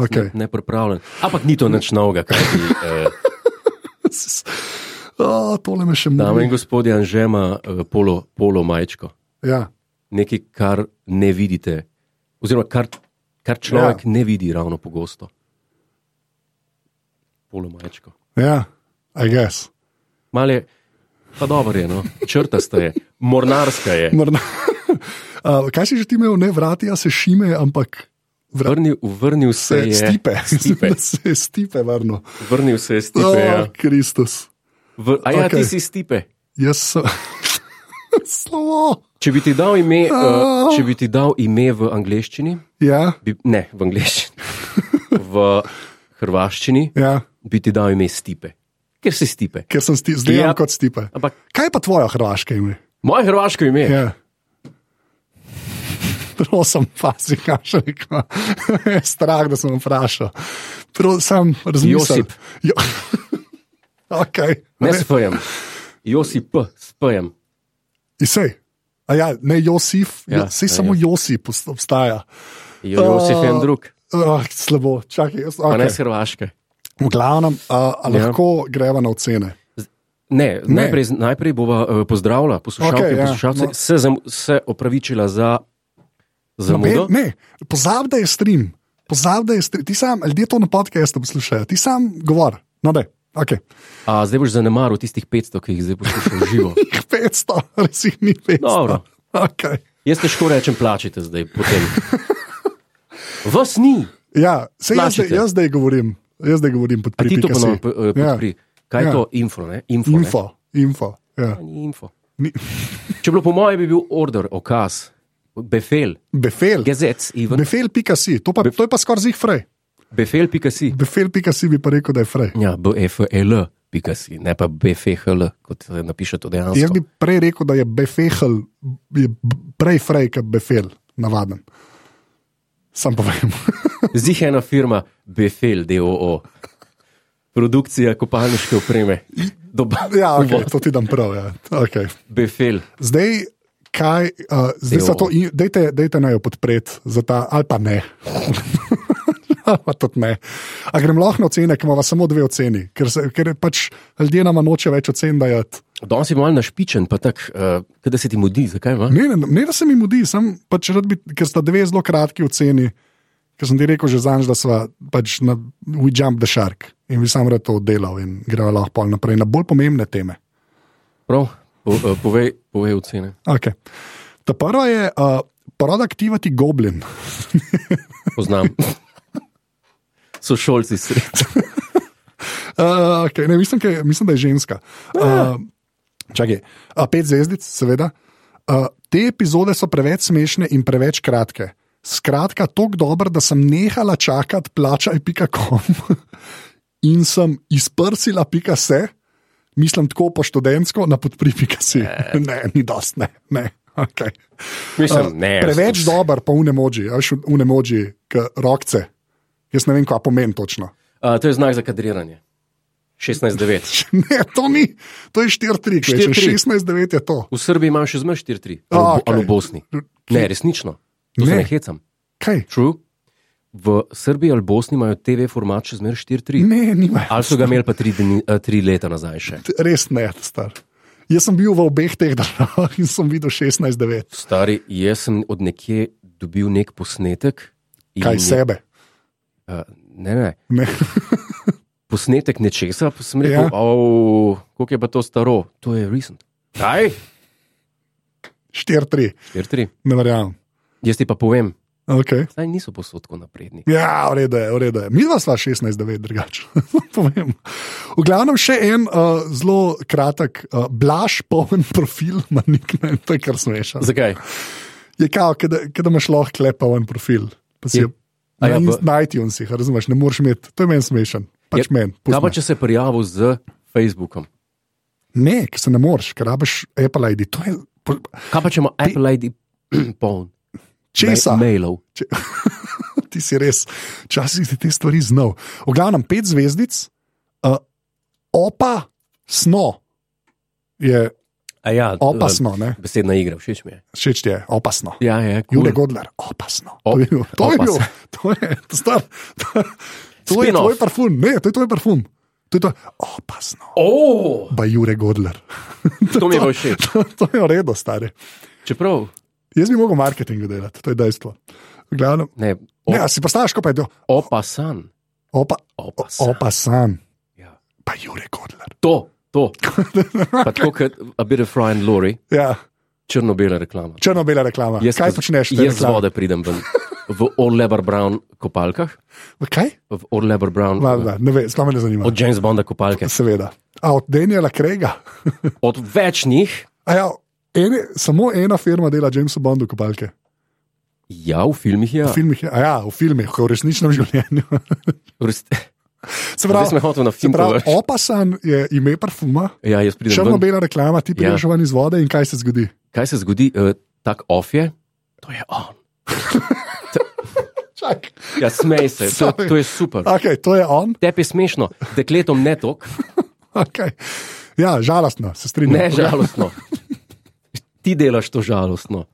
Okay. Ja. ne, nepripravljen. Ampak ni to nič novega, kaj ti. Eh, Oh, tole me še dame mori. in gospodje, Anže ima eh, polo, polo majčko. Ja. Nekaj, kar ne vidite, oziroma kar, kar človek ja. ne vidi ravno pogosto. Polo majčko. Ja, I guess. Male, pa dobro je, no. črtasta je, mornarska je. Morda. Uh, kaj si že ti imel, ne vrati, a se šime, ampak vra- Vrnil, vrnil se se je stipe. stipe. Da se stipe, varno. Vrnil se je stipe. Oh, Ja. Kristus. V, a ja, okay. ti Okej. si stipe. Jaz sem. Slovo. Če bi ti dal ime, Oh. uh, če bi ti dal ime v angleščini, Ja, bi, ne v angleščini, v hrvaščini, ja, bi ti dal ime stipe, ker si stipe. ker sem sti, zdaj Ja. ja. kot stipe. Ampak Kaj je pa tvoja hrvaška ime? moje hrvaško ime je Ja. Prosim, pazi, kaj še rekel. Strah, da sem vprašal. Pro, sam razmišljam. Josip. Jo... okay. ne spojem, Josip, spojem. Isej. A ja, ne Josif, Ja, ja, sej ja, samo Josip obst- obstaja. Ah, Jo, Josip je en drug, Uh, slabo, čakaj, jaz. pa ne iz Okay. Hrvaške. V glavnem, uh, a Ja. lahko ja. greva na ocene. Ne, ne. Najprej, z- najprej bova uh, pozdravila poslušalke Okej, in ja, poslušalce, no. no. se, zam, se opravičila za zamudo. Ne, ne, pozabi, da je stream. Pozabi, da je stream. Ti sam, ljudje to na podkastu poslušajo, ti sam govor. No, da, ok. A zdaj boš zanemaril tistih 500, ki jih zdaj poslušam živo. Jih 500, res jih ni 500. Dobro. Okay. Jaz težko rečem, plačite zdaj potem. Vas ni, Ja, sej jaz, Plačite. zdaj- jaz zdaj govorim, jaz zdaj govorim pod a ti to pripikom. ponovno p- eh, podpri. Kaj je Ja. to info, ne? Info. ne? Info, info. Ja. A Ni info. Ni- Če bilo po moje, bi bil order, okaz, befel, Befel. gezec, even, Befel.si, to, pa- to je pa skoraj zih frej. befel.si. Befel.si bi pa rekel, da je frej. Ja, befl.si, ne pa bfhl, kot eh, napiše to dejansko. Jaz Ja, bi prej rekel, da je befehl, je b- prej frej kot befel, navaden. Sam povem. Zdih ena firma, Befel, DOO, produkcija kopalniške opreme, doba ja, okay, uvod. to ti dam prav. Ja. Okay. Befel. Zdaj, kaj, uh, zdaj so to, in- dajte, dajte naj jo podpreti, za ta, ali pa ne. Ali pa tudi ne. A grem lahko na ocene, ki imamo samo dve oceni, ker, se, ker pač ljudje nam noče več ocen dajati. Danes si malo našpičen, pa tako, uh, da se ti mudi, zakaj imaš? Ne, ne, ne, da se mi mudi, sem pač rad bi, ker sta dve zelo kratki oceni. Ker sem ti rekel že zanj, da sva pač na We Jump the Shark in bi sam rad to oddelal in gremo lahko pol naprej na bolj pomembne teme. Prav, po, uh, povej, povej ocene. Okay. Ta prva je uh, Productivity Goblin. Poznam. So šolci sredi. Uh, okay, ne, mislim, kaj, mislim, da je ženska. Uh, čakaj, uh, pet zvezdic, seveda. Uh, te epizode so preveč smešne in preveč kratke. Skratka, tako dober, da sem nehala čakati, plačaj.com in sem izprsila, pika se, mislim tako po študentsko, na podpri.si. Ne, ni dost, ne. ne. Okay. Mislim, Uh, ne. preveč jaz- dober, pa unemoji, veš, unemoji, rokce. Jaz ne vem, kaj pomeni točno. A, to je znak za kadriranje. 16-9. Ne, to ni, to je 4-3, če 4-3. 16-9 je to. V Srbiji imam še zmeraj 4-3, ali, A, okay. okej. ali v Bosni. Ne, resnično. To se Ne. ne hecam. Kaj? True. V Srbiji ali Bosni imajo TV format še zmeraj 4-3. Ne, nima. Ali so ga imeli pa tri, dni, eh, tri leta nazaj še? Res ne, star. Jaz sem bil v obeh teh državah in sem videl 16-9. Stari, jaz sem od nekje dobil nek posnetek. in Kaj mi- sebe? eh, Ne, ne. Ne. Posnetek nečesa, pa sem rekel, Ja. ja. kako je pa to staro, to je recent. Kaj? 4-3, 4-3. ne verjamem. Jaz ti pa povem, Okay. zdaj niso posod tako napredni. Ja, v redu je, v redu je. Mi dva sva 16-9, drugače. Povem. V glavnem še en uh, zelo kratek, uh, blaž, poln profil, ima nikne, to je kar smešno. Zakaj? Je kao, ke da- ke da imaš lahko klepaven profil. Pa si Je. je, A ja, na, pa- ja, na iTunesih, razumeš, ne moreš imeti, to je meni smešen. Pač Je- meni. Kaj pusti pa, me. če se prijavil z Facebookom? Ne, ker se ne moreš, ker rabiš Apple ID. To je po- Kaj pa, če ima Apple ID poln? česa. Ma- Mailov. ti si res, včasih si te stvari znal. V glavnem, pet eh, zvezdic, uh, opa, sno je A ja, Opasno, ne? Besedna igra, všeč mi je. Všeč ti je, opasno. Ja, ja, cool. Jure Godler, opasno. Op- To je bil, to je opas. bil, to je, to star, to, to je Spin-off. tvoj parfum, ne, to je tvoj parfum. To je to, opasno. Oh, Pa Jure Godler. to mi je pa všeč. to, to je v redu, stari. Čeprav, Jaz bi mogel marketing delati, to je dejstvo. V Glavnem, ne, ne, op, a si postaviš, ko pa je to, opasan. opa, opasan. opasan, Ja. pa Jure Godler. To, to. Pa tako kot A Bit of Ryan Lori, Ja, črno-bela reklama. črno-bela reklama. Jaz, ko- Kaj počneš? te Jaz z reklame? vode pridem ven. V Orlebar Brown kopalkah, Kaj? v Orlebar Brown. Valjda, ne vem, sploh me ne Ja. zanima. Od James Bonda kopalke. Seveda. A od Daniela Krega. Od več njih, A Ja, ene, samo ena firma dela Jamesu Bondu kopalke. ja, v filmih je. V Ja. filmih, je- a ja, v filmih, v resničnem življenju. V resni- Se Zdaj sem pravi, hotel na se film pravi povedati. opasan je ime parfuma, Ja, jaz pridem ven. Ja. črno-bela reklama, ti prideš ven iz vode in kaj se zgodi? Kaj se zgodi, uh, tak off je? To je on. Čak. Ja, smej se, to, to je super. Okay, to je on. Tebi je smešno, dekletom ne tok, Okay. Ja, žalostno, se strinjam. ne žalostno. Ti delaš to žalostno.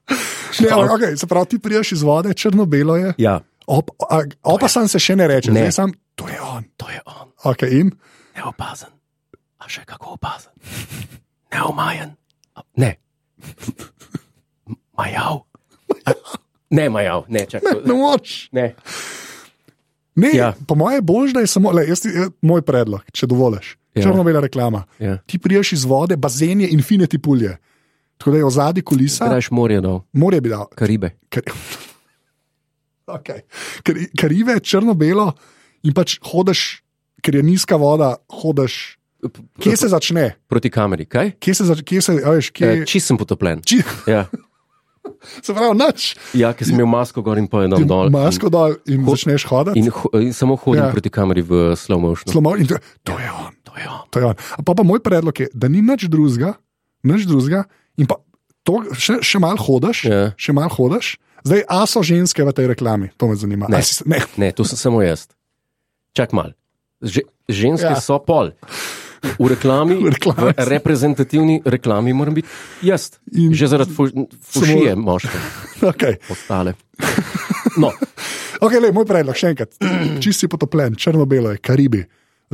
Ne, okay, se pravi, ti priješ iz vode, črno-belo je. Ja, Op, a, opasan se še ne reče, Ne. ne sam, to je on. to je on. Okay, in Neopazen, a še kako opazen. Neomajen, a, ne. M- Majav. A, ne, majav, ne, čakaj. ne moč. Ne. No, Ne, Ja. ja. Po mojem je bolj, da je samo le, jaz, ti- eh, moj predlog, če dovoliš. Ja. Ja. Črno-bela reklama. Ja. Ti priješ iz vode, bazen je infiniti pulje. Tako da je ozadje kulisa, Raš morje dol, morje bi dal. Karibe. Kar... Okay. Kar, karive, črno-belo in pač hodiš, ker je nizka voda, hodiš. Kje se začne? Proti kameri, kaj? Kje se začne? Kje se, a veš, kje... E, Čist sem potopljen. Či, Ja, se pravi, noč. ja ker sem imel masko gor in pojedel dol. Masko dol in Ho- začneš hoditi. In, ho, in samo hodim ja. Ja. proti kameri v slow motion. Slomo, in to, to je on. To je on. To je on. A Pa, pa moj predlog je, da ni nič drugega, nič drugega. In pa to, še, še malo hodiš, Ja. še malo hodiš. Zdaj, a so ženske v tej reklami, to me zanima. Ne. A Si, ne. Ne, to sem samo jaz. Čak mal. Že, ženske ja. Ja. so pol. V reklami, V v reklami so. reprezentativni reklami moram biti jaz. In- Že zaradi fu- fušije moške, Okay. ostale. No, Okay, lej, moj predlog, še enkrat. Čist si potopljen, črno-belo je, Karibi.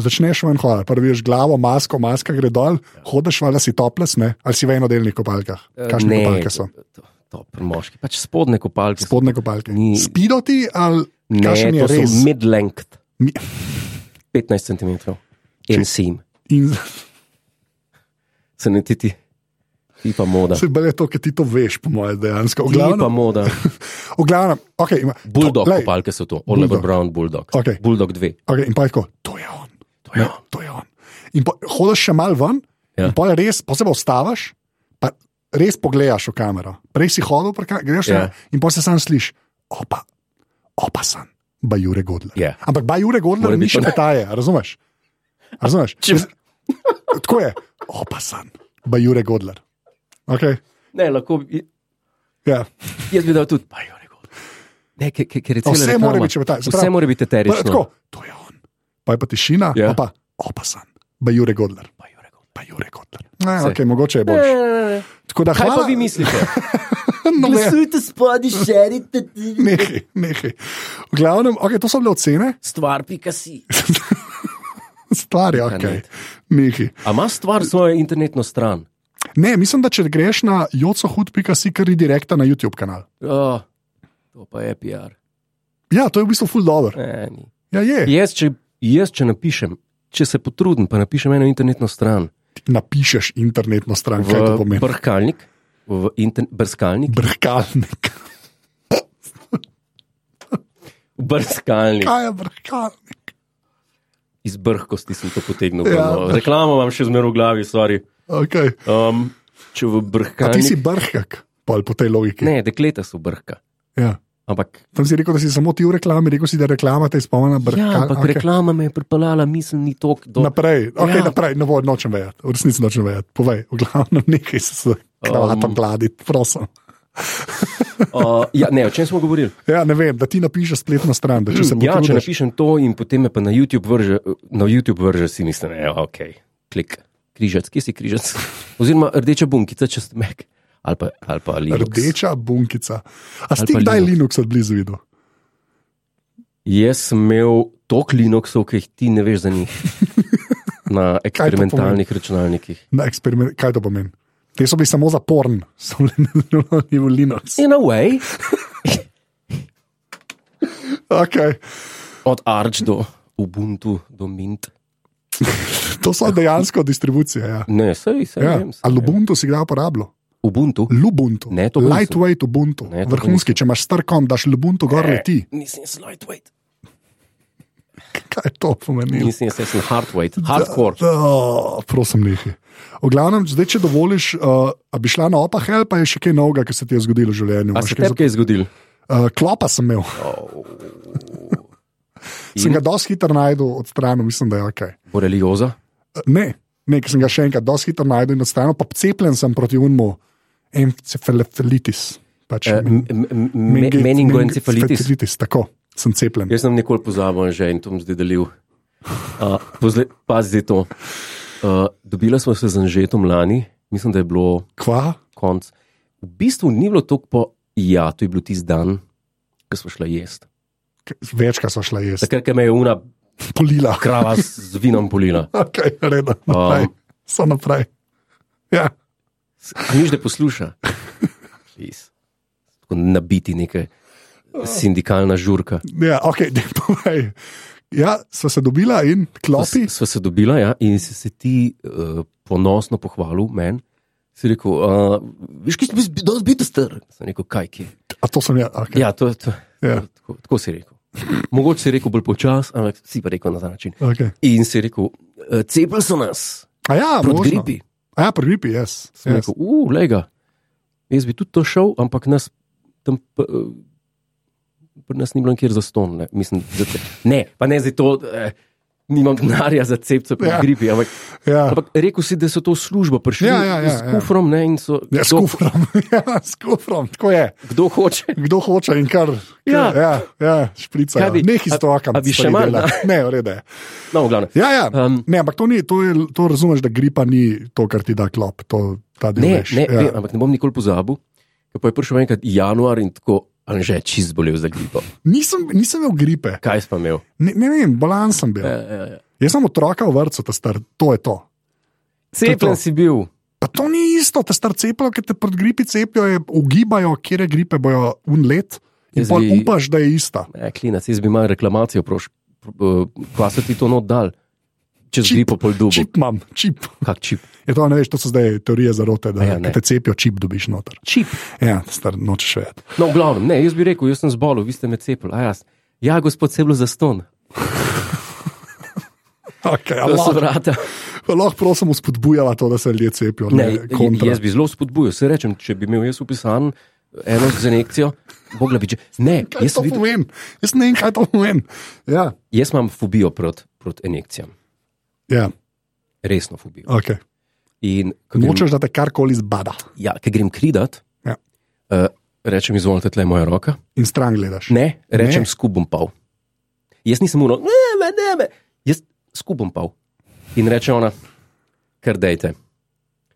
Začneš ven hoditi, prviš glavo, masko, maska gre dol, hodiš, valjda si toples, ne? ali si v enodelnih kopalkah. Kakšne Eh, ne, kopalke so? to- To, to, moški, pač spodne kopalke. so- Spodne kopalke. Ni- Spidoti ali kakšen ne, je to res? so mid-length, Mi- 15 cm. En sim, In se ne ti ti, ti pa moda. se bolje to, ker ti to veš, po mojem, dejansko. V Ti glavnem, pa moda. V glavnem, okay, ima, Bulldog, to, lej, kopalke so to, Oliver Bulldog. Brown, Bulldog. Okej. Bulldog 2. okay, in pa je tako, to je on. To je Ne, on. to je on. In po, hodiš še mal ven, Ja. ja. in pa je res, pa se pa ustaviš, pa res pogledaš v kamero. Prej si hodil, pa greš Ja. ja. in pa se sam slišiš, opa, opasan, bajure Godler. Ja. Ampak bajure Godler Mora ni biti še to- petaje, razumeš? razumeš? Če- Jaz- Tako je, opasan, bajure Godler. Okay? Ne, lahko bi, Ja. jaz bi dal tudi, pa jo rekel. Ne, ker, ker- ker je celo. Vse mora biti čebetarsko, se Vse pravi- mora biti Pa, eterično. tako, to je on. Pa je pa tišina, Ja. no. ja. pa, pa opasan, bajure Godler. Pa Jure Godler. pa Jure Eh, Kotler. Ne, Vse. okay, mogoče je Ne, boljši. ne, ne, ne. Tako da, E, Kaj hvala, pa vi mislite? No, ne, Glasujte spodaj, šerite ti. nehaj, nehaj. V glavnem, okay, to so bile ocene, Stvar, pika si. stvari, ne. okay. nehaj. A ima stvar svojo internetno stran? Ne, mislim, da če greš na jocohud.si, kar je direktno na YouTube kanal. Oh, to pa je PR. Ja, to je v bistvu full dobro. Ne, ni. Ja, je. jaz, če, jaz, če napišem, če se potrudim, pa napišem eno internetno stran Napišeš internetno stran, kaj to v pomeni. brhkalnik, v intern, brskalnik, Brkalnik. brskalnik. Kaj je brkalnik? Iz brhkosti sem to potegnil. Ja. Ja. Reklamo imam še zmeraj v glavi, stvari. Okay. Um, če v A ti brhkalnik. si brhkak, pol po tej logiki. Ne, dekleta so brhka. Ja. Ampak, Tam si rekel, da si samo ti v reklami, rekel si, da reklama te spomni na brhkal. ja, ampak okej. okay. reklama me je pripeljala, mislim, ni tok do. Naprej, Ja. okay, ja. naprej. Ne bo, nočem vedeti, v resnici nočem vedeti. Povej, v glavnem nekaj se zdaj Um. kravatam um. gladiti, prosim. Uh, ja, ne, o čem smo govorili? Ja, ne vem, da ti napišeš spletno stran, da če se Ja, če potrudiš. napišem to in potem me pa na "Ja, YouTube vrže, na YouTube vrže si mislim, da je ok, klik, križec, kje si križec? Oziroma rdeča bunkica, če ste mek. Ali pa, ali pa Linux. Rdeča bunkica. Ali A si ti pa kdaj Linux. Linux od blizu videl? Jaz sem imel toliko Linuxov, ki jih ti ne veš za njih. Na eksperimentalnih računalnikih. Na eksperiment, kaj to pomeni? Te so bili samo za porn, so bili na nivoju Linux. In away, Okay. od Arch do Ubuntu, do Mint. To so dejansko distribucije. Ja. Ne, sej, sej, Ja. vem, sej, vem. Ali Ubuntu si kdaj uporabljal? Ubuntu. Lubuntu. Ne, to nisem. Lightweight Ubuntu. Ne, to Vrhunski, če imaš strkom, daš Lubuntu gor leti. Nisem jaz lightweight. Kaj je to pomenilo? Nisem jaz, jaz sem hardweight, hardcore. Da, prosim, nehi. V glavnem, zdaj, če dovoliš, uh, a bi šla na opah ali pa je še kaj novega, kar se ti je zgodilo v življenju. A se Imaš kaj tebi kaj Oh. zgodil? za- Uh, klopa sem imel, sem ga dosti hitro najdel od strani, mislim, da je ok. Borelioza? Uh, ne, ne, ker sem ga še enkrat dosti hitro najdel in od strani, pa cepljen sem proti unmu, encefalitis. Pač, Eh, men- m- m- m- me- menge- Meningoencefalitis. meningoencefalitis, Tako, sem cepljen. Jaz sem nikoli pozabil že in to bom zdaj delil. Uh, pozle, pazi zdaj to. Uh, dobila smo se z Anžetom lani, mislim, da je bilo Kva? konc. V bistvu ni bilo tako po ja, to je bil tisti dan, ko smo šli jesti. Večkrat so šla jaz, Takrat, ko me je una polila. krava z vinom polila. Okay, reda, naprej. Um. So naprej. Ja. A Nič ne posluša. Jeez. Tako nabiti neke sindikalna žurka. Ja, okay, daj povej. Ja, sva se dobila in klopi. Sva se dobila ja, in si se ti uh, ponosno pohvalil meni. Si rekel, uh, veš, ki si bil zbi- dosti biti star. Sem rekel, kaj ki. A to sem jaz. Okay. Ja, to, to, Ja. to, tako, tako si rekel. Mogoče si rekel bolj počasi, ampak si pa rekel na ta način. Okay. In si rekel, uh, cepili so nas A ja, proti možno. gripi. A ja, pri gripi, jaz. Sem Yes. rekel, uf, lega. Jaz bi tudi to šel, ampak nas tam. p- eh, Pri nas ni bilo nikjer za ston. Ne, Mislim, za te- ne pa ne zdaj to, eh, nimam denarja za cepce pri Ja. ja. gripi. Ampak, Ja. ampak rekel si, da so to v službo prišli Ja, ja, ja, s ja. kufrom ne, in so. Ja, s kdo- kufrom. ja, s kufrom, tako je. Kdo hoče? Kdo hoče in kar. Ja. kar- ja, ja šprica. Kaj bi- Neh iz a- toka. a bi še manj, Ne, urede. No, v glavnem. Ja, ja. Um. Um, ne, ampak to, ni, to, je, to razumeš, da gripa ni to, kar ti da klop. To, ta del Ne, veš. ne, ja. ja. ampak ne bom nikoli pozabil. ko Pa je prišel enkrat januar in tako, ali že čist zbolel za gripo. Nisem, nisem imel gripe, Kaj si pa imel? ne, ne vem, bolan sem bil. Ja, Ja. ja, ja. Jaz sem otroka v vrtu, ta star, to je to. Cepljen si bil. Pa to ni isto, te star cepijo, ki te pred gripi cepijo, je, ugibajo, kje gripe bojo un let. In Jaz pa bi- upaš, da je ista. Ne, klinac, jaz bi imel reklamacijo, proš, pr- eh, kva se ti to not dal, če Čip, zbi po pol dubu. Čip imam, čip. Kak čip? Je to, ne veš, to so zdaj teorije zarote, da Ja, ja, ne. te cepijo, čip dobiš noter. čip. Ja, ta star nočeš vedeti. No, v glavnem, ne, jaz bi rekel, jaz sem zbolel, vi ste me cepili, a jaz. Ja, gospod Seblo za ston, Okay, to so lahko, vrata. lahko prosim uspodbujala to, da se ljudje cepijo. Ne, Ne, ne, kontra. jaz bi zelo spodbujal, se rečem, če bi imel jaz upisan eno z injekcijo, mogla bi če. Ne, Kaj jaz, to sem videl, pomeni? Jaz ne vem, kaj to pomeni. Ja, jaz imam fobijo proti prot injekcijam, ja, resno fobijo. okay. In ko grem, Nočeš, da te karkoli zbada ja, ko grem kridat, Ja. eh, rečem, izvolite, tle je moja roka. in stran gledaš. Ne, rečem, Ne. skupaj pol. Jaz nisem uno, ne, me, ne, me. jaz skupaj pol. In reče ona, kar dejte.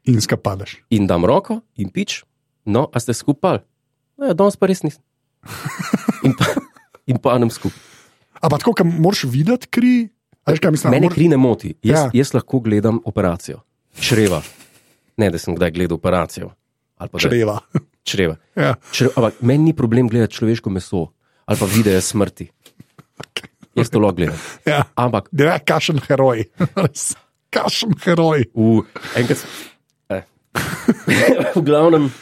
In skapadeš. In dam roko in pič, no, a ste skupaj. Ne, danes pa res nisem. In pa, in pa nam skupaj. Ampak tako, kam moraš videti kri, a veš kaj mislim? Mene mor- kri ne moti, jaz, Ja. ja. jaz lahko gledam operacijo. Čreva. Ne, da sem kdaj gledal operacijo. Ali pa da- Čreva. Čreva. Ja. Čre, ampak meni ni problem gledati človeško meso ali pa videe smrti. Jaz to lahko gledam. Ja. Ampak Ja, kašen heroj. Res, kašen heroj. V, enkrat, eh. v glavnem,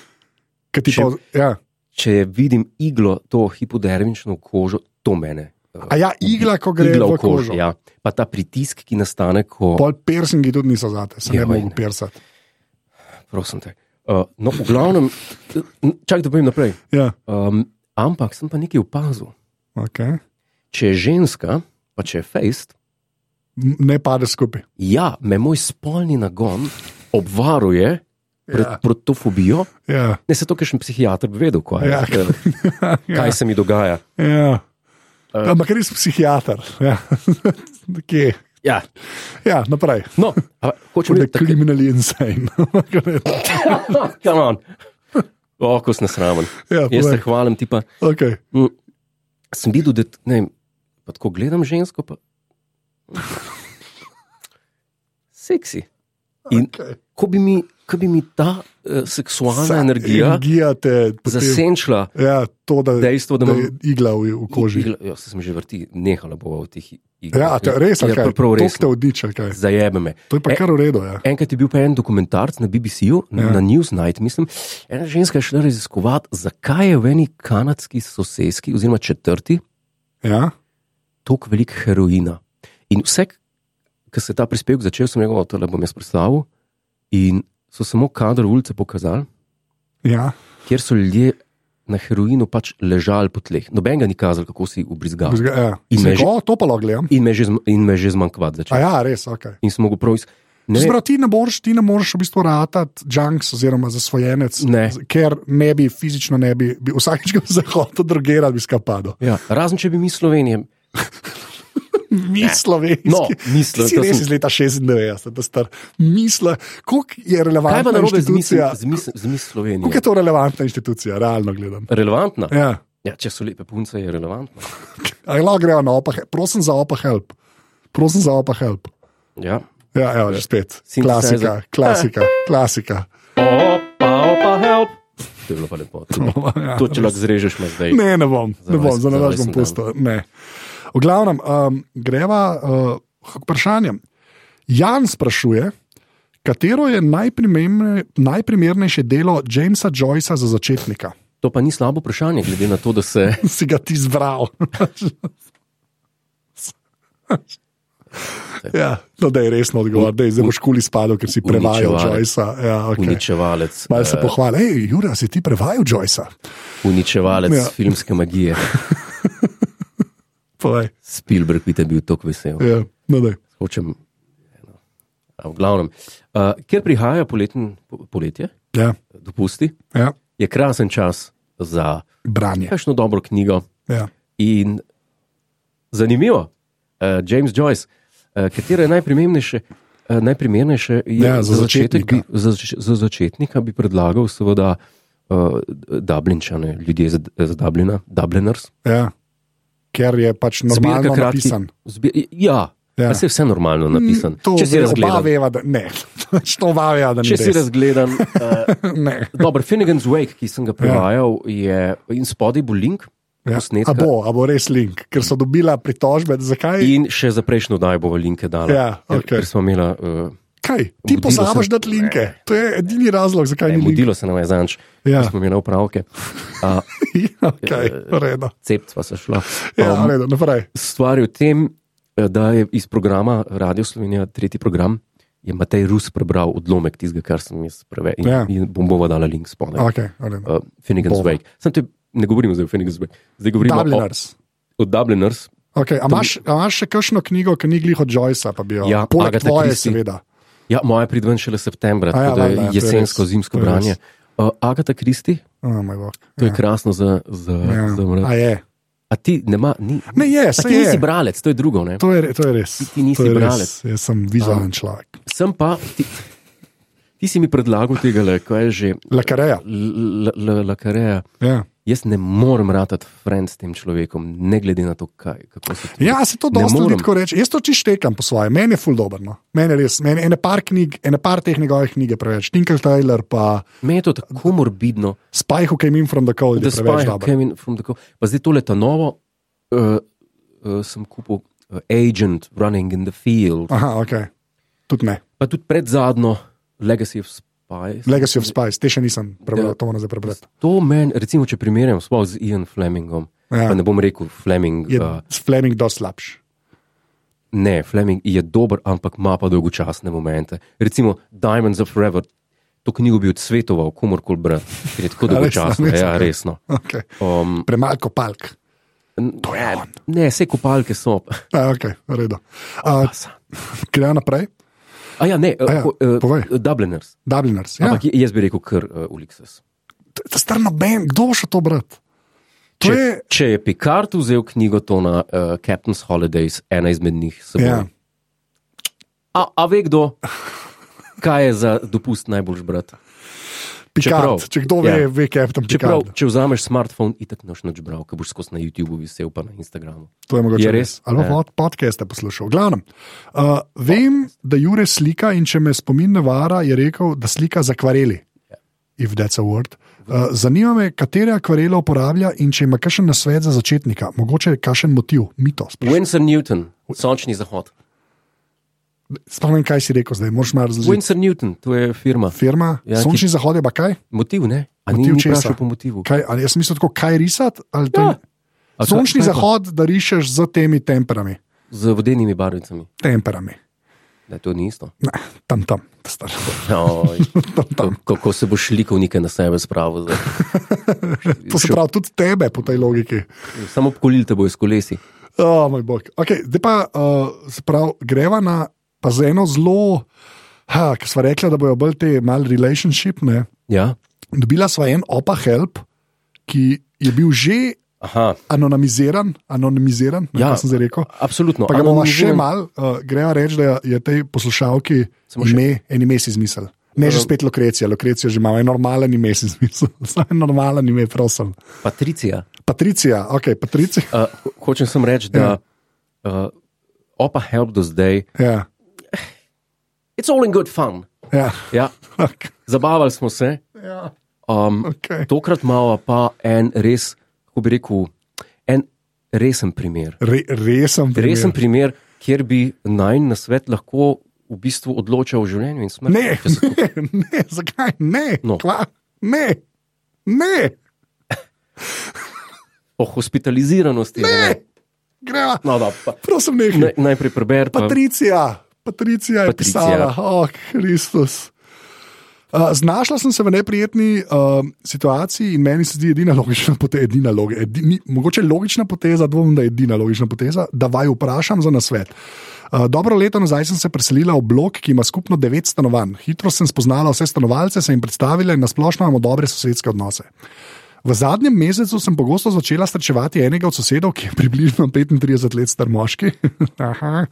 Ki ti Če- pa- Ja. če vidim iglo, to hipodermično kožo, to mene. eh, A ja, igla, ko gre igla v kožo. Ja. Pa ta pritisk, ki nastane, ko. Pol piercingi tudi niso zate, se ne Joj. mogu piercati. Prosim te. Uh, no, v glavnem, čak da povem naprej. Ja, Um, ampak sem pa nekaj opazil. okay. Če je ženska, pa če je fejst, M- Ne pade skupaj. ja, me moj spolni nagon obvaruje pred Ja. ja. protofobijo. Ja. Ne se to, ker še psihiater bi vedel, kaj, Ja. je, eh, kaj ja. se mi dogaja. ja. Eh. Ampak res psihiater. Ja. Kje? Ja. Ja, naprej. No, ampak hočem Če je reči, da criminally insane. je. O, ko sem sramen. ja, Jaz se povej. hvalim, ti pa. okay. Sem videl, da t- ne, vem, pa tako gledam žensko, pa. Seksi. In Okay. ko bi mi, ko bi mi ta uh, seksualna Sa, energija, energija energija te potem, zasenčila, ja, to, da, da, dejstvo, da da imam je igla v, v koži. Igla, jo, se sem že vrti, nehala bo v teh igrah. Ja, te, res je, ja, kaj prav, prav res. te odiče. Kaj. Zajebe me. To je pa E- kar v redu. Ja. Enkrat je bil pa en dokumentarc na BBC-ju, Ja. ja. na Newsnight, mislim. Ena ženska je šla raziskovati, zakaj je v eni kanadski soseski, oziroma četrti, Ja? tako veliko heroina. In vse, ki se je ta prispevek začel, sem rekel, da bom jaz predstavil. In so samo kader ulice pokazali, Ja. kjer so ljudje na heroinu pač ležali po tleh. Noben ga ni kazal, kako si ubrizgal. Zga, ja. In Se, me že- o, to pa lahko gledam. In me je že, zm- in me je že zmanjkovat A začel. ja, res, ok. In sem mogel prav iz. Ne, Zbral, ti ne moreš, ti ne moreš v bistvu ratati junks oziroma zasvojenec, Ne. z- ker ne bi fizično ne bi, bi vsakič, ko bi se hotel drogirati, bi skapado. ja, razen če bi mi Slovenijem. Mi slovenci. No, mislim, Ti si to res sem- iz leta 96, da star. Misle, koliko je Kaj pa relevantna narobe z misli, institucija. z misli, z misli Slovenije? Koliko je to relevantna institucija, realno gledano? Relevantna. Ja. Ja, če so lepe punce, je relevantna. Ali lahko grejo na opah, prosim za opah help. Prosim za opah help. Ja. Ja, evo, že spet. Synthesizer. Klasika, klasika, klasika. Opa, opa, help. To je bilo pa lepo. To, Ja. to če lahko zrežeš, imaš zdaj. Ne, ne bom, ne bom, vas- za za nalaž vas bom ne bom. pusto. Ne. V glavnem, um, greva uh, k vprašanjem. Jan sprašuje, katero je najprimerne- najprimernejše delo Jamesa Joycea za začetnika? To pa ni slabo vprašanje, glede na to, da se. Si ga ti zbral. ja, no, da je resno odgovor, da je zelo škuli spadal, ker si prevajal Uničeval. Joycea. Ja, okay. Uničevalec, Malo se eh, pohvali, hej, Jura, si ti prevajal Joycea? uničevalec Ja. ja. filmske magije. Povej. Spielberg bi te bil tako vesel. Ja, no, daj. Hočem, eno. A, v glavnem. Uh, ker prihaja poleten, po- poletje, ja, dopusti, ja. je krasen čas za Branje. kakšno dobro knjigo. Ja. In zanimivo, uh, James Joyce, uh, katero je najprimernejše, uh, najprimernejše je, Ja, za začetek začetnika. Bi, za, zač- za začetnika bi predlagal, seveda, uh, Dublinčane, ljudje iz iz Dublina, Dubliners. Ja. Ker je pač Zbirka normalno kratkih- napisan. Zbir, ja, Ja. ja. se je vse normalno napisan. To Če si ve- razgledan, Oba veva, da ne. Pač To oba veva, da ni če si res. razgledan uh, Ne. dober Finnegan's Wake, ki sem ga prevajal, je in spodaj bo link. Ja. posnetka. A bo, a bo res link, ker so dobila pritožbe, zakaj. In še za prejšnjo oddajo bomo linke dali. Ja, ker, okej. ker smo imeli uh, Kaj, ti Mudilo pozabiš se- dati linke. To je edini razlog, zakaj Ne, ni link. mudilo se nam je zanč, Ja. ja. smo imeli opravke. Uh, okay, v redu. Cept Ja. pa se šla. ja, v Um, redu, naprej. stvar je v tem, eh, da je iz programa Radio Slovenija, tretji program, je Matej Rus prebral odlomek tistega, kar sem jaz preveč. In, ja. Ja. in bom bova dala link spodaj. Okay, v redu. Uh, Finnegan's Bova. Wake. Sam te ne govorim zdaj o Finnegan's Wake. Zdaj govorimo Dubliners. o, o Dubliners. Okay, a, imaš, a imaš še kakšno knjigo, ki ni glih od Joycea? pa bi jo- Ja, Poleg Agatha tvoje, Christie. seveda. Ja, moja pridven šele septembra, A ja, tako da valjda, je ja, to je jesensko, res, zimsko to je res. branje. Uh, Agata Kristi, Oh, moj bog. to je krasno za, za, Ja. za mrak. A je. A ti nema, ni, Ne, je, A saj ti nisi je. bralec, to je drugo. Ne? To je, to je res. ti nisi to je bralec. res. Jaz sem vizualen človek. Sem pa, ti, ti si mi predlagal tega, le, kaj je že. Lakareja. L- l- l- Lakareja. Ja. Jaz ne morem ratati friend s tem človekom, ne glede na to, kaj, kako se ti Ja, se to Ne dosta ljudi morem. tako reče. Jaz to čištekam po svoje, meni je ful dobro. No. Meni je res, meni ene par knjig, ene par teh njegovih knjig je preveč. Tinker Taylor pa Meni je to tako morbidno, Spy Who Came In From The Cold da je preveč spajam, dobro. kaj mi from the co- Pa zdaj tole ta novo, uh, uh, sem kupil uh, Agent Running in the Field, Aha, ok. Tudi ne. pa tudi pred zadnjo Legacy of Spies. Legacy of Spies, te še nisem prebral, Ja. to moram zdaj prebrati. To meni, recimo, če primerjam sploh z Ian Flemingom, Ja. ja. pa ne bom rekel Fleming, Je uh, s Fleming dosti slabš. ne, Fleming je dober, ampak ima pa dolgočasne momente. Recimo Diamonds of Forever, to knjigo bi odsvetoval komorkoli brati, ker je tako resno, dolgočasno, resno? ja, resno. Okay. Um, Premalko palk. to je on. Ne, vse kopalke so. A, okay, v redu. Ah, A, Gremo naprej. A ja, ne, ja, ja, ko, povej. uh, Dubliners. Dubliners. Ja. Ampak ja. jaz bi rekel, kar uh, Ulixes. To je star noben, kdo bo še to brat? Če, To je, če eh, je Picard vzel knjigo Tona uh, Captain's Holidays, ena izmed njih, se bo ja. A, a ve kdo, kaj je za dopust najboljš brati? čeprav- Pikant, če kdo ve, ja. ve, Captain Čeprav, Picard. če vzameš smartphone, itak noš nič bral, ki boš skozi na YouTubu visel pa na Instagramu. To je mogoče. Je res? Ali Ja. pa pod, podcaste poslušal. Glavno. Uh, vem, da Jure slika in če me spomin ne vara, je rekel, da slika z akvareli. Ja. If that's a word. Uh, zanima me, katere akvarele uporablja in če ima kakšen nasvet za začetnika, mogoče kakšen motiv, mito. sprašujem. Winsor Newton, sončni zahod. Sploh ne vem, kaj si rekel zdaj, moraš malo razložiti. Winsor Newton, to je firma. Firma, Ja, ja, ki- sončni ki... zahod je pa kaj? Motiv, ne? A ni Motiv ni česa? vprašal po motivu. kaj ali jaz mislim tako, kaj risati? ali to- Ja. A kaj- Sončni kaj pa? zahod, da rišeš z temi temperami. Z vodenimi barvicami. temperami. Da, to ni isto. Ne, tam, tam, star. Oj, tam, tam. Kako se boš likovnike na sebe spravil? zdaj. To se pravi, tudi tebe po tej logiki. Samo polil te bo iz kolesi. Oh, moj bog. Okay, zdaj pa uh, se pravi, greva na pa za eno zelo, ha, ki smo rekli, da bojo bolj te mal relationship. Ne? Ja? Dobila sva en opa help, ki je bil že Aha, anonimiziran, anonimiziran, ne, Ja. ja. sem zdaj rekel. absolutno. Pa ga bomo Anonimiziran- še mal, uh, greva reči, da je tej poslušalki Samo še- ime, en ime si izmislil. Ne že spet Lokrecija, Lokrecija že ima en normalen ime, si izmislil. Samo en normalen ime, prosim. Patricija. Patricija, ok, Patricija. Uh, ho- hočem samo reči, da uh, opa help do zdaj. Ja, It's all in good fun. ja. Ja, Okay. zabavali smo se. ja. Um, Okay. tokrat imamo pa en res, kako bi rekel, en resen primer. Re, resen primer. Resen primer, kjer bi naj na svet lahko v bistvu odločal o življenju in smrti. Ne, Če se- ne, ne, zakaj ne? Ja, No. Kva, ne, ne, O hospitaliziranosti. ne. Ne. greva. No, da, pa, Prosim, nekaj. naj, Ne. najprej preberem. Pa, Patricija, Patricija je Patricija. pisala, oh, Kristus. Uh, znašla sem se v neprijetni uh, situaciji in meni se zdi edina logična poteza, edina logi, edini, mogoče logična poteza, dvomim, da je edina logična poteza, da vaju vprašam za nasvet. Uh, dobro leto nazaj sem se preselila v blok, ki ima skupno devet stanovanj. Hitro sem spoznala vse stanovalce, se jim predstavila in nasplošno imamo dobre sosedske odnose. V zadnjem mesecu sem pogosto začela srečevati enega od sosedov, ki je približno 35 let star moški. Aha.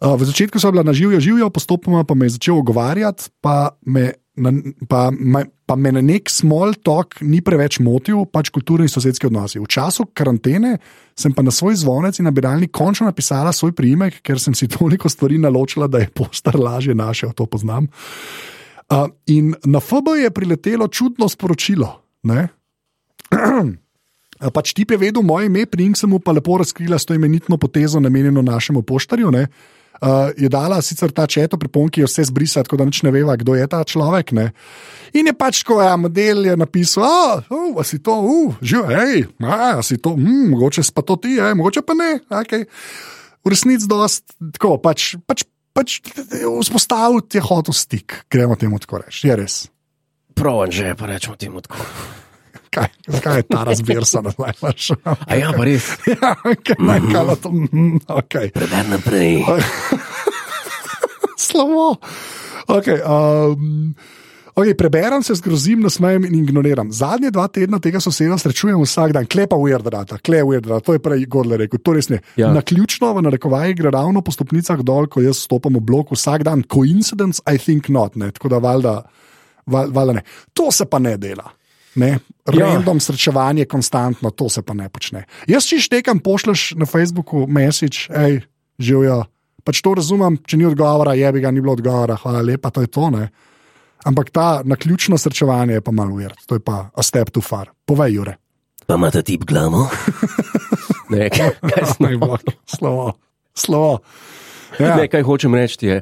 Uh, V začetku so bila na živo, živijo, postopoma pa me je začel ogovarjati, pa me, na, pa, me, pa me na nek small talk ni preveč motil, pač kulturni in sosedski odnosi. V času karantene sem pa na svoj zvonec in nabiralnik končno napisala svoj priimek, ker sem si toliko stvari naločila, da je poštar lažje našel, to poznam. Uh, in na FB je priletelo čudno sporočilo. Ne? Pač ti je vedel moje ime, prijem sem mu pa lepo razkrila s to imenitno potezo, namenjeno našemu poštarju. Ne? Uh, je dala sicer ta četo priponki, je vse zbrisala, tako da nič ne veva, kdo je ta človek. Ne? In je pač, ko je model je napisal, "A, oh, a si to, uh, že, hej, a, a si to, mm, mogoče si pa to ti, eh, mogoče pa ne. Okay. V resnici dost, tako, pač, pač, pač vzpostaviti je hotel stik, gremo temu tako reči, je res. Prav, že pa rečemo temu tako. Kaj, zakaj je ta razversana, naj imaš? A ja, pa res. Ja, okay, naj kala to. mm, Okay. Preberem naprej. Slabo. Okay, um, okay, preberem se, zgrozim, nasmejem in ignoriram. Zadnje dva tedna tega soseda srečujem vsak dan, klepa ujerdrata, kle ujerdrata, to je prej Gordle rekel, to res ne. Ja. Ja. Na ključno v narekovaji gre ravno po stopnicah dol, ko jaz stopam v blok vsak dan. Coincidence, I think not, ne. tako da valjda, val, valjda ne. To se pa ne dela. Ne? Ja. Random ja. srečevanje, konstantno, to se pa ne počne. Jaz češ nekam pošleš na Facebooku message, hej, živijo. Pač to razumem, če ni odgovora, je bi ga ni bilo odgovora, hvala lepa, to je to. Ne? Ampak ta naključno srečevanje je pa malo ujer, to je pa a step too far. Povej, Jure. Pa imate tip glavo? ne, kaj, kaj, sem- Naj bo. Slovo. Slovo. Ja. ne, kaj hočem reči je.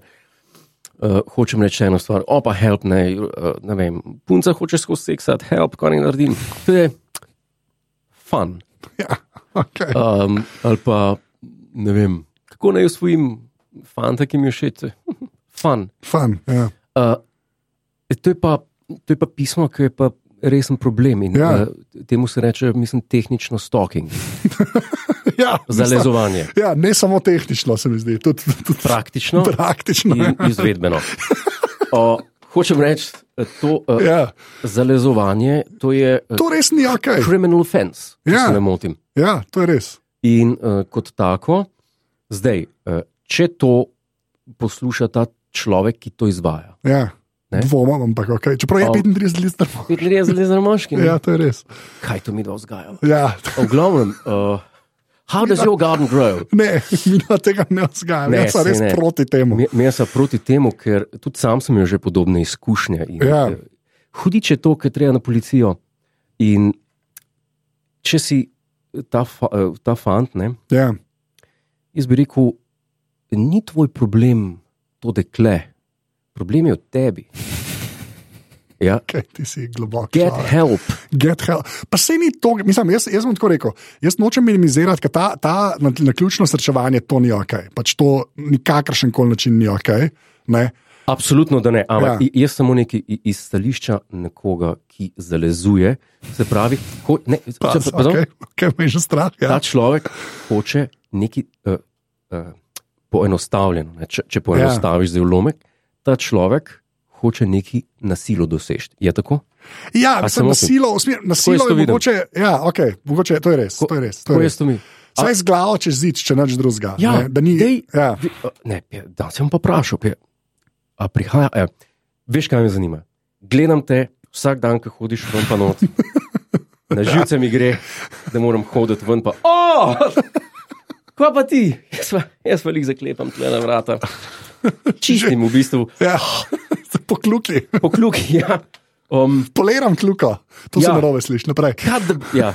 Uh, hočem reči eno stvar, opa, help, ne, uh, ne vem, punca hoče skozi seksat, help, kaj naj naredim. To je fun. Ja. Okay. Um, ali pa ne vem, kako naj usvojim fanta, ki mi je všeč. Fun. Fun. Ja. Uh, to, je pa, to je pa pismo, ki je pa resen problem. In, Ja. ja. uh, temu se reče, mislim, tehnično stalking, Ja, mislim, zalezovanje. ja, ne samo tehnično, se mi zdi, tudi, tudi Praktično praktično. No. ja. in izvedbeno. Uh, hočem reči, eh, to uh, ja. Ja. zalezovanje to je uh, To res ni ok. criminal offense, če ja. Ja. se ne motim. e, Ja, to je res. In uh, kot tako, zdaj, uh, e, če to posluša ta človek, ki to izvaja. Ja, Ne? dvomim, ampak okay. čeprav je Al- 35 let star. Pet let je zelo zelo moški. ne? Ja, to je res. Kaj to mi dva vzgajamo? Ja. V glavnem, uh, how does your garden grow? Ne, mi na tega ne vzgajamo, Ne, jaz sem saj res ne. proti temu. Mi- Jaz sem proti temu, ker tudi sam sem imel že podobne izkušnje. In, Ja. eh, Hudič je to, kar treba na policijo. In če si ta, fa, eh, ta fant, ne, Ja, jaz bi rekel, ni tvoj problem to dekle, problem je v tebi. Ja. kaj ti si globoko. Get človek. help. Get hell. Pa se ni to, mislim, jaz, jaz bom tako rekel. Jaz nočem minimizirati, ker ta, ta na, na ključno srečevanje to ni ok. Pač to nikakršen kol način ni ok. Ne? Absolutno, da ne. Ampak ja. Ja. jaz samo nekaj i- iz stališča nekoga, ki zalezuje. Se pravi, ho, ne, Pa, se, pa, Pač, okay. okay, okay, Pač, me je že strah. ta Ja. človek hoče nekaj uh, uh, poenostavljeno. Ne? Če, če poenostaviš ja. zelo lomek, ta človek hoče nekaj nasilo doseči. Je tako? Ja, A samo mislim, na to? silo, usmer, na silo jaz je to vidim. mogoče, ja, okay, mogoče, to je res. To je res, to Tako je jaz res. to mi. Saj z glavo čez zid, če nič drugega. Ja, ne, da ni. dej- ja. Vi- a, Ne, pe- da sem pa vprašal, pe- a prihaja. Eh, veš, kaj me zanima? Gledam te vsak dan, ko hodiš ven, pa noč. Na živce mi gre, da moram hoditi ven, pa. O! Kva pa ti? Jaz pa, jaz pa jih zaklepam tle na vrata. Čistim v bistvu, Ja. Pokluki, pokluk. Ja. Um, poliram kljuko, to ja. se Ja. narobe sliši naprej. kad, ja.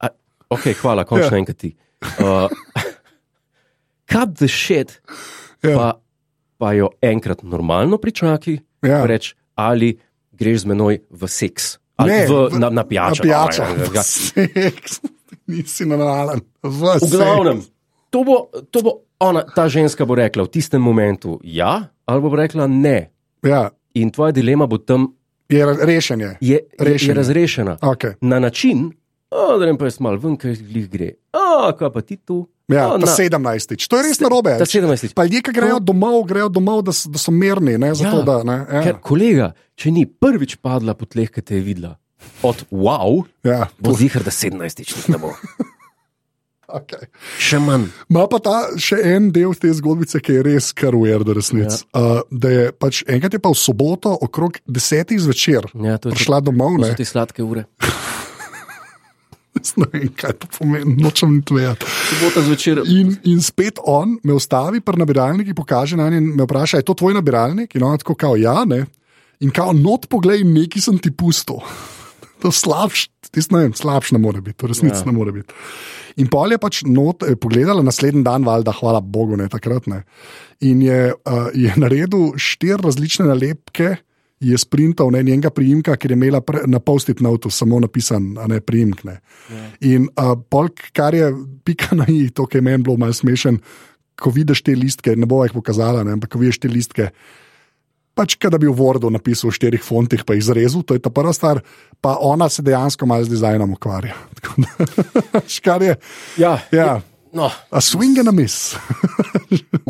a, ok, hvala, končno Ja. ja. enkrat ti. Uh, kad the shit. Ja, pa, pa jo enkrat normalno pričaki, ja. ja. reč, ali greš z menoj v seks, ali Ne, ne, v, v- na, na pijačo. Napijača. ali V ga- Seks. Nisi navalen. ja. V glavnem, to bo, to bo ona, ta ženska bo rekla v tistem momentu ja, ali bo rekla ne. Ja, In tvoja dilema bo tam je ra- rešen je. je, je, Rešena. je razrešena. Okay. Na način, "O, da ne pa jaz mal ven, ker jih gre. A, kaj pa ti tu? Ja, O, ta No, na- sedemnajstič. To je res narobe. Ta 17. Pa ljudje, ki grejo domov, grejo domov, da, s- da so mirni. Ne, Ja. zato, da, ne, ja. Ker, kolega, če ni prvič padla po tleh, ki te je videla, od wow, Ja, bo zihar, da 17 ne bo. okay. Še manj. Ma pa ta še en del te zgodbice, ki je res kar ujer, da resnic. Ja. Uh, da je pač enkrat je pa v soboto okrog desetih zvečer Ja, to je to, prišla domov, to ne, so te sladke ure. ne vem, kaj to pomeni, nočem niti vedeti. Sobota zvečer. In, in spet on me ustavi pri nabiralniku, pokaže na njen, me vpraša, je to tvoj nabiralnik? In on tako kao, ja, ne. In kao, not poglej, neki sem ti pustil. To slabš, tisto ne vem, slabš ne more biti, to resnici ja. ne more biti. In pol je pač not, eh, pogledala naslednji dan, valjda, hvala Bogu, ne takrat ne. In je, uh, je naredil štiri različne nalepke, je sprintal ne, njenega priimka, ker je imela pre, na post-it notu samo napisan, a ne priimk. Ne. In uh, polk, kar je pika na i, to, kar je meni bilo malce smešen, ko vidiš te listke, ne bo jih pokazala, ne, ampak ko vidiš te listke. Pač, kaj da bi v Wordu napisal v štirih fontih, pa jih zrezal, to je ta prva stvar, pa ona se dejansko malo z dizajnom ukvarja. Tako da, Škar je. Ja, Ja, no. a swing and a miss.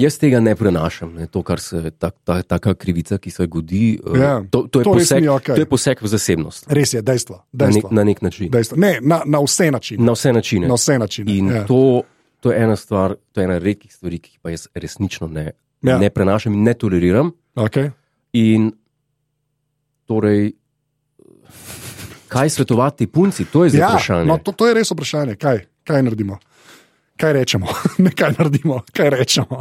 Jaz tega ne prenašam, ne, to, kar se ta, ta, taka krivica, ki se godi. eh, Ja, to, to, je to res poseg, ni okej. to je poseg v zasebnost. Res je, dejstvo. Na nek, dejstvo, na nek način. dejstvo. Ne, na, na vse načine. Na vse načine. Na vse načine. In ja. to, to je ena stvar, to je ena redkih stvari, ki jih pa jaz resnično ne, Ja. ja. ne prenašam in ne toleriram. okay. In torej, kaj svetovati punci, to je zdaj ja, vprašanje. no, to, to je res vprašanje. Kaj, kaj naredimo? Kaj rečemo? ne kaj naredimo, kaj rečemo.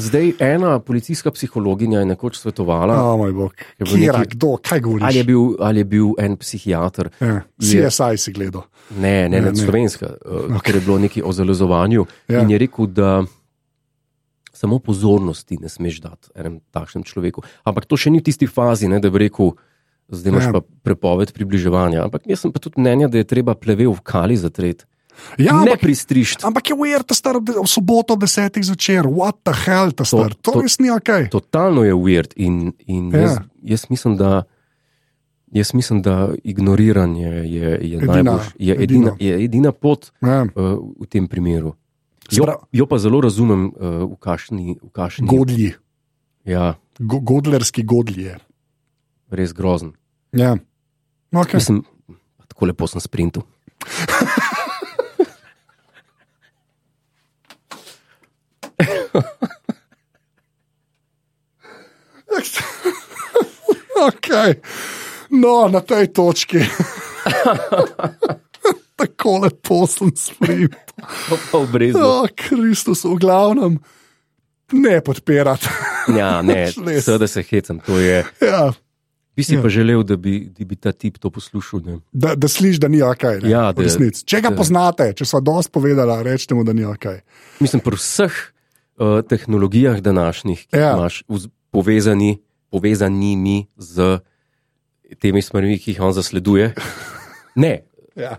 Zdaj ena policijska psihologinja je nekoč svetovala, Oh, moj bog. Je bil Kjera, neki- kdo, kaj govoriš? Ali je, bil, ali je bil en psihiater, Ja. Je- CSI si gledal. ne, ne, Ne, ne, ne. ne. slovenska, okay. ker je bilo nekaj o zalezovanju. Ja. Ja. In je rekel, da samo pozornosti ne smeš dati enemu takšnemu človeku. Ampak to še ni v tisti fazi, ne, da bi rekel, zdaj imaš Ja. ja. pa prepoved približevanja. Ampak jaz sem pa tudi mnenja, da je treba plevel v kali zatreti. Ja, Ja, ne ampak, pristrišti. ampak je ujer ta star ob de- v soboto ob desetih zvečer, what the hell, ta star. To, to to- res ni ok. Totalno je weird in, in Ja. ja. jaz, jaz mislim, da. Jaz mislim, da ignoriranje je, je, Edina, najbolj, je, edina, edino. je edina pot, Ja. eh, v tem primeru. Jo, Spra- jo pa zelo razumem, eh, v kašni. V kašni Godlji, ja, Go, godlerski godlji je. res grozen. Ja. Okay. Mislim, tako lepo sem sprintil. Okay. No, na tej točki. Tako lepo sem sprim. Pa, pa v brezdu. O, Ja, Kristus, v glavnem, ne podpirati. Ja, ne, Res. seveda se hecam. to je. ja, Bi si Ja. pa želel, da bi, da bi ta tip to poslušal. Ne? da, da slišiš, da ni ok. Ne, Ja, v da- resnici. če ga da- poznate, če so dosti povedala, rečete mu, da ni ok. Mislim, pri vseh uh, tehnologijah današnjih, ki Ja. ja. imaš vz, povezani, povezanimi z temi stvarmi, ki jih on zasleduje. Ne, Ja,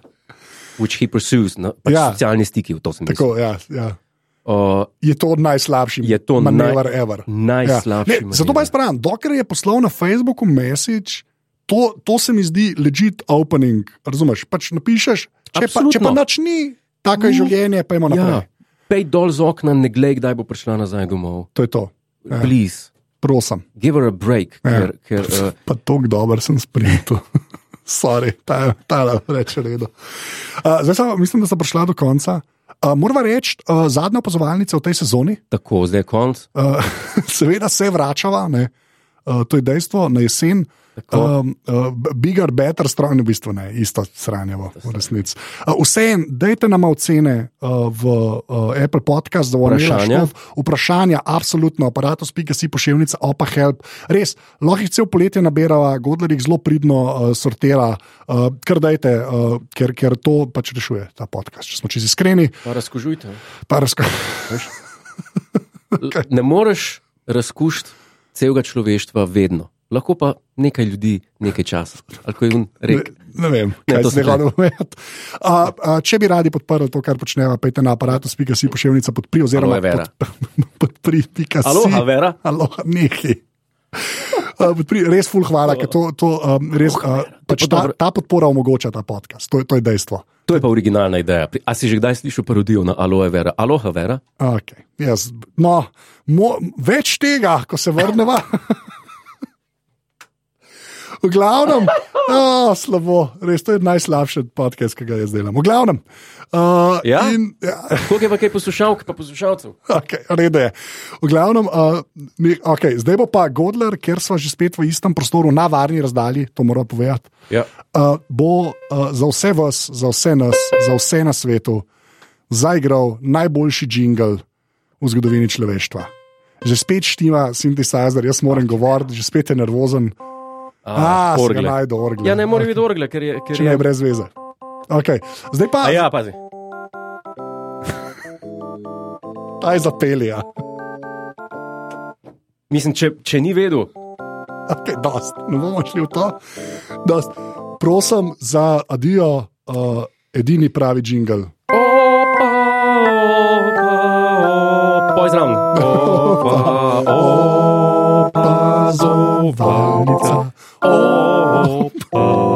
which he pursues, na, pač Ja. ja. socialni stiki v to sem rekel. tako, ja, ja. Uh, Je to najslabši Je to naj- manever ever. najslabši. Ja. Ne, manever. Zato pa jaz pravim, dokler je poslal na Facebooku message, to, to se mi zdi legit opening. Razumeš? Pač napišeš, če pa, če pa Absolutno. nič ni, tako je Ni. življenje, pa imamo naprej. Ja, pej dol z okna, ne glej, kdaj bo prišla nazaj domov. To je to, Ja. Ja. Please, prosim. give her a break. Ja. Ja. Ker, ker, uh, Pa tako dober sem sprintil. Sorry, ta ta reče redo. Uh, zdaj samo mislim, da sem prišla do konca. Uh, Morava reči, uh, zadnja opazovalnica v tej sezoni, tako, zdaj je konc. uh, seveda se vračava, ne. uh, to je dejstvo, na jesen. Tako. Um, uh, b- bigger, better, strojno, v bistvu ne, isto sranjevo, v resnici. Uh, Vseeno, dajte nam ocene uh, v uh, Apple podcast, da bomo Vprašanja? rešili vprašanja, absolutno, aparatus, pika si pošiljnica, opa help. Res, lahko jih cel poletje nabirava, Godler jih zelo pridno uh, sortira, uh, kar dajte, uh, ker, ker to pač rešuje ta podcast. Če smo čisto iskreni, Pa razkožujte. pa razko. L- Ne moreš razkušiti celega človeštva vedno. Lahko pa nekaj ljudi, nekaj časa. Ali ko je on rekel. Ne, ne vem, Ne, kaj Ja, to se sem dogaja. Če bi radi podprli to, kar počneva, pejte na aparatus, pika si pošiljnica podpri, oziroma Aloe vera. pod- podpri, pika si. Aloha, Vera. Aloha, neki. Podpri, res ful hvala, ker to, to um, res, uh, pač pa ta, dobro. ta podpora omogoča ta podcast, to, je- to je dejstvo. To je pa originalna ideja. Pri- A si že kdaj slišal parodijo na Aloe Vera? Aloha Vera? Okay, jaz, no, mo, več tega, ko se vrnemo. V glavnem, oh, slabo, res to je najslabši podcast, ki ga jaz delam. V glavnem. Uh, Ja? In, ja, Koliko je pa kaj poslušalk, pa poslušalcev? okay, redo je. V glavnem, uh, ni- okay, zdaj bo pa Godler, ker smo že spet v istem prostoru, na varni razdalji, to moram povedati. Ja. Uh, bo uh, za vse vas, za vse nas, za vse na svetu zaigral najboljši jingle v zgodovini človeštva. Že spet štima sintetizer, jaz moram govoriti, že spet je nervozen. A, se orgle. ga najde orgle. Ja, ne more biti orgle, ker je. Ker Če ne, je... brez veze. Okay. Zdaj pa A ja, pazi. ta je zapelja. Mislim, če, če ni vedel, Okay, dost. ne bomo šli v to. Dost. Prosim za adijo, uh, edini pravi jingle. Opa, opa, opa, pozdravljen. Opa, opazovalnica. Opa,